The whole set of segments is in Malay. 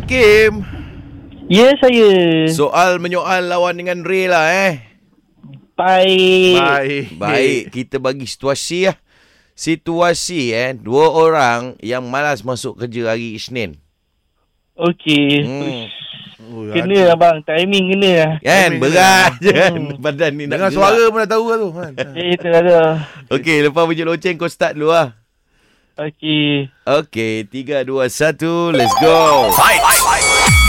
Hakim, Ya saya soal menyoal lawan dengan Ray lah eh. Baik Baik. Baik, kita bagi situasi lah. Situasi eh, dua orang yang malas masuk kerja hari Isnin. Okey Hmm. Oh, Kena ada. abang Timing kena lah Kan, berat je kan badan ni nak Dengan gerak. suara pun dah tahu lah tu. kan. Eh itu ada Okey, lepas bunyi loceng kau start dulu lah. Okey Okey, 3, 2, 1, let's go.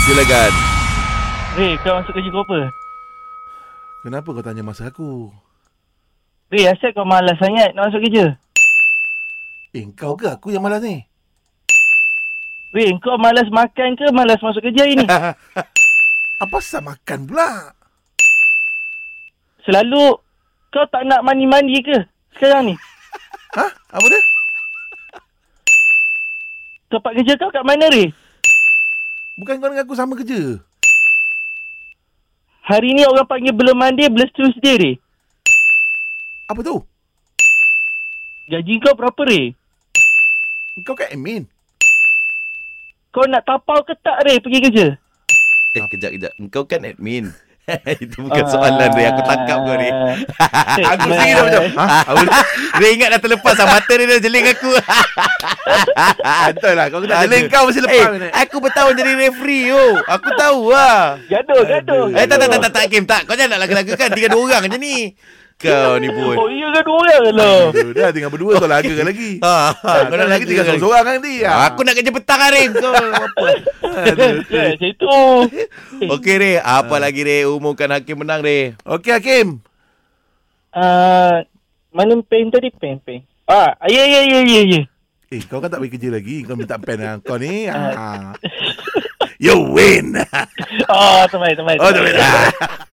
Silakan. Ray kau masuk kerja kau apa? Kenapa kau tanya masa aku? Ray asal kau malas sangat nak masuk kerja? Eh, kau ke aku yang malas ni? Ray kau malas makan ke malas masuk kerja hari ni? Apa sah makan pula? Selalu kau tak nak mandi-mandi ke sekarang ni? Ha? Apa dia? Tempat kerja kau kat mana Ray? Bukan kau dengan aku sama kerja. Hari ni orang panggil belum mandi Bless Tuesday Ray Apa tu? Gaji kau berapa Ray? Kau kan admin. Kau nak tapau ke tak Ray pergi kerja? Eh, kejap, kejap. Engkau kan admin. Itu bukan Ah. soalan Ray. Aku tangkap kau Ray. aku sendiri dah macam. Ha? Apa dia? Ray ingat dah terlepas lah. Mata dia dah jeling aku. Betul lah. Kau kena Jeling kau mesti lepas. Eh, aku bertahun jadi referee yo. Aku tahu lah. Gaduh, gaduh. Eh, tak, tak, tak, tak, tak, Hakim. Tak, kau jangan nak laga-lagakan. Tiga dua orang je ni. Kau ni boy. Oh, iya gaduh orang lah. Dah tinggal berdua kau lagakan lagi. Ha, ha, Ha, kau nak lagi tinggal kau seorang kan nanti. Ah, Aku nak kerja petang hari Kau apa Ya, macam itu. Okey Ray Apa lagi Ray Umumkan Hakim menang Ray Okey Hakim. Ah, mana pen tadi? Pen, pen. Ah, ya, ya, ya, ya, ya. Eh, kau kan tak pergi kerja lagi. Kau minta pen lah. Kau ni. Ha. You win. Ah, terbaik, terbaik. Oh, terbaik.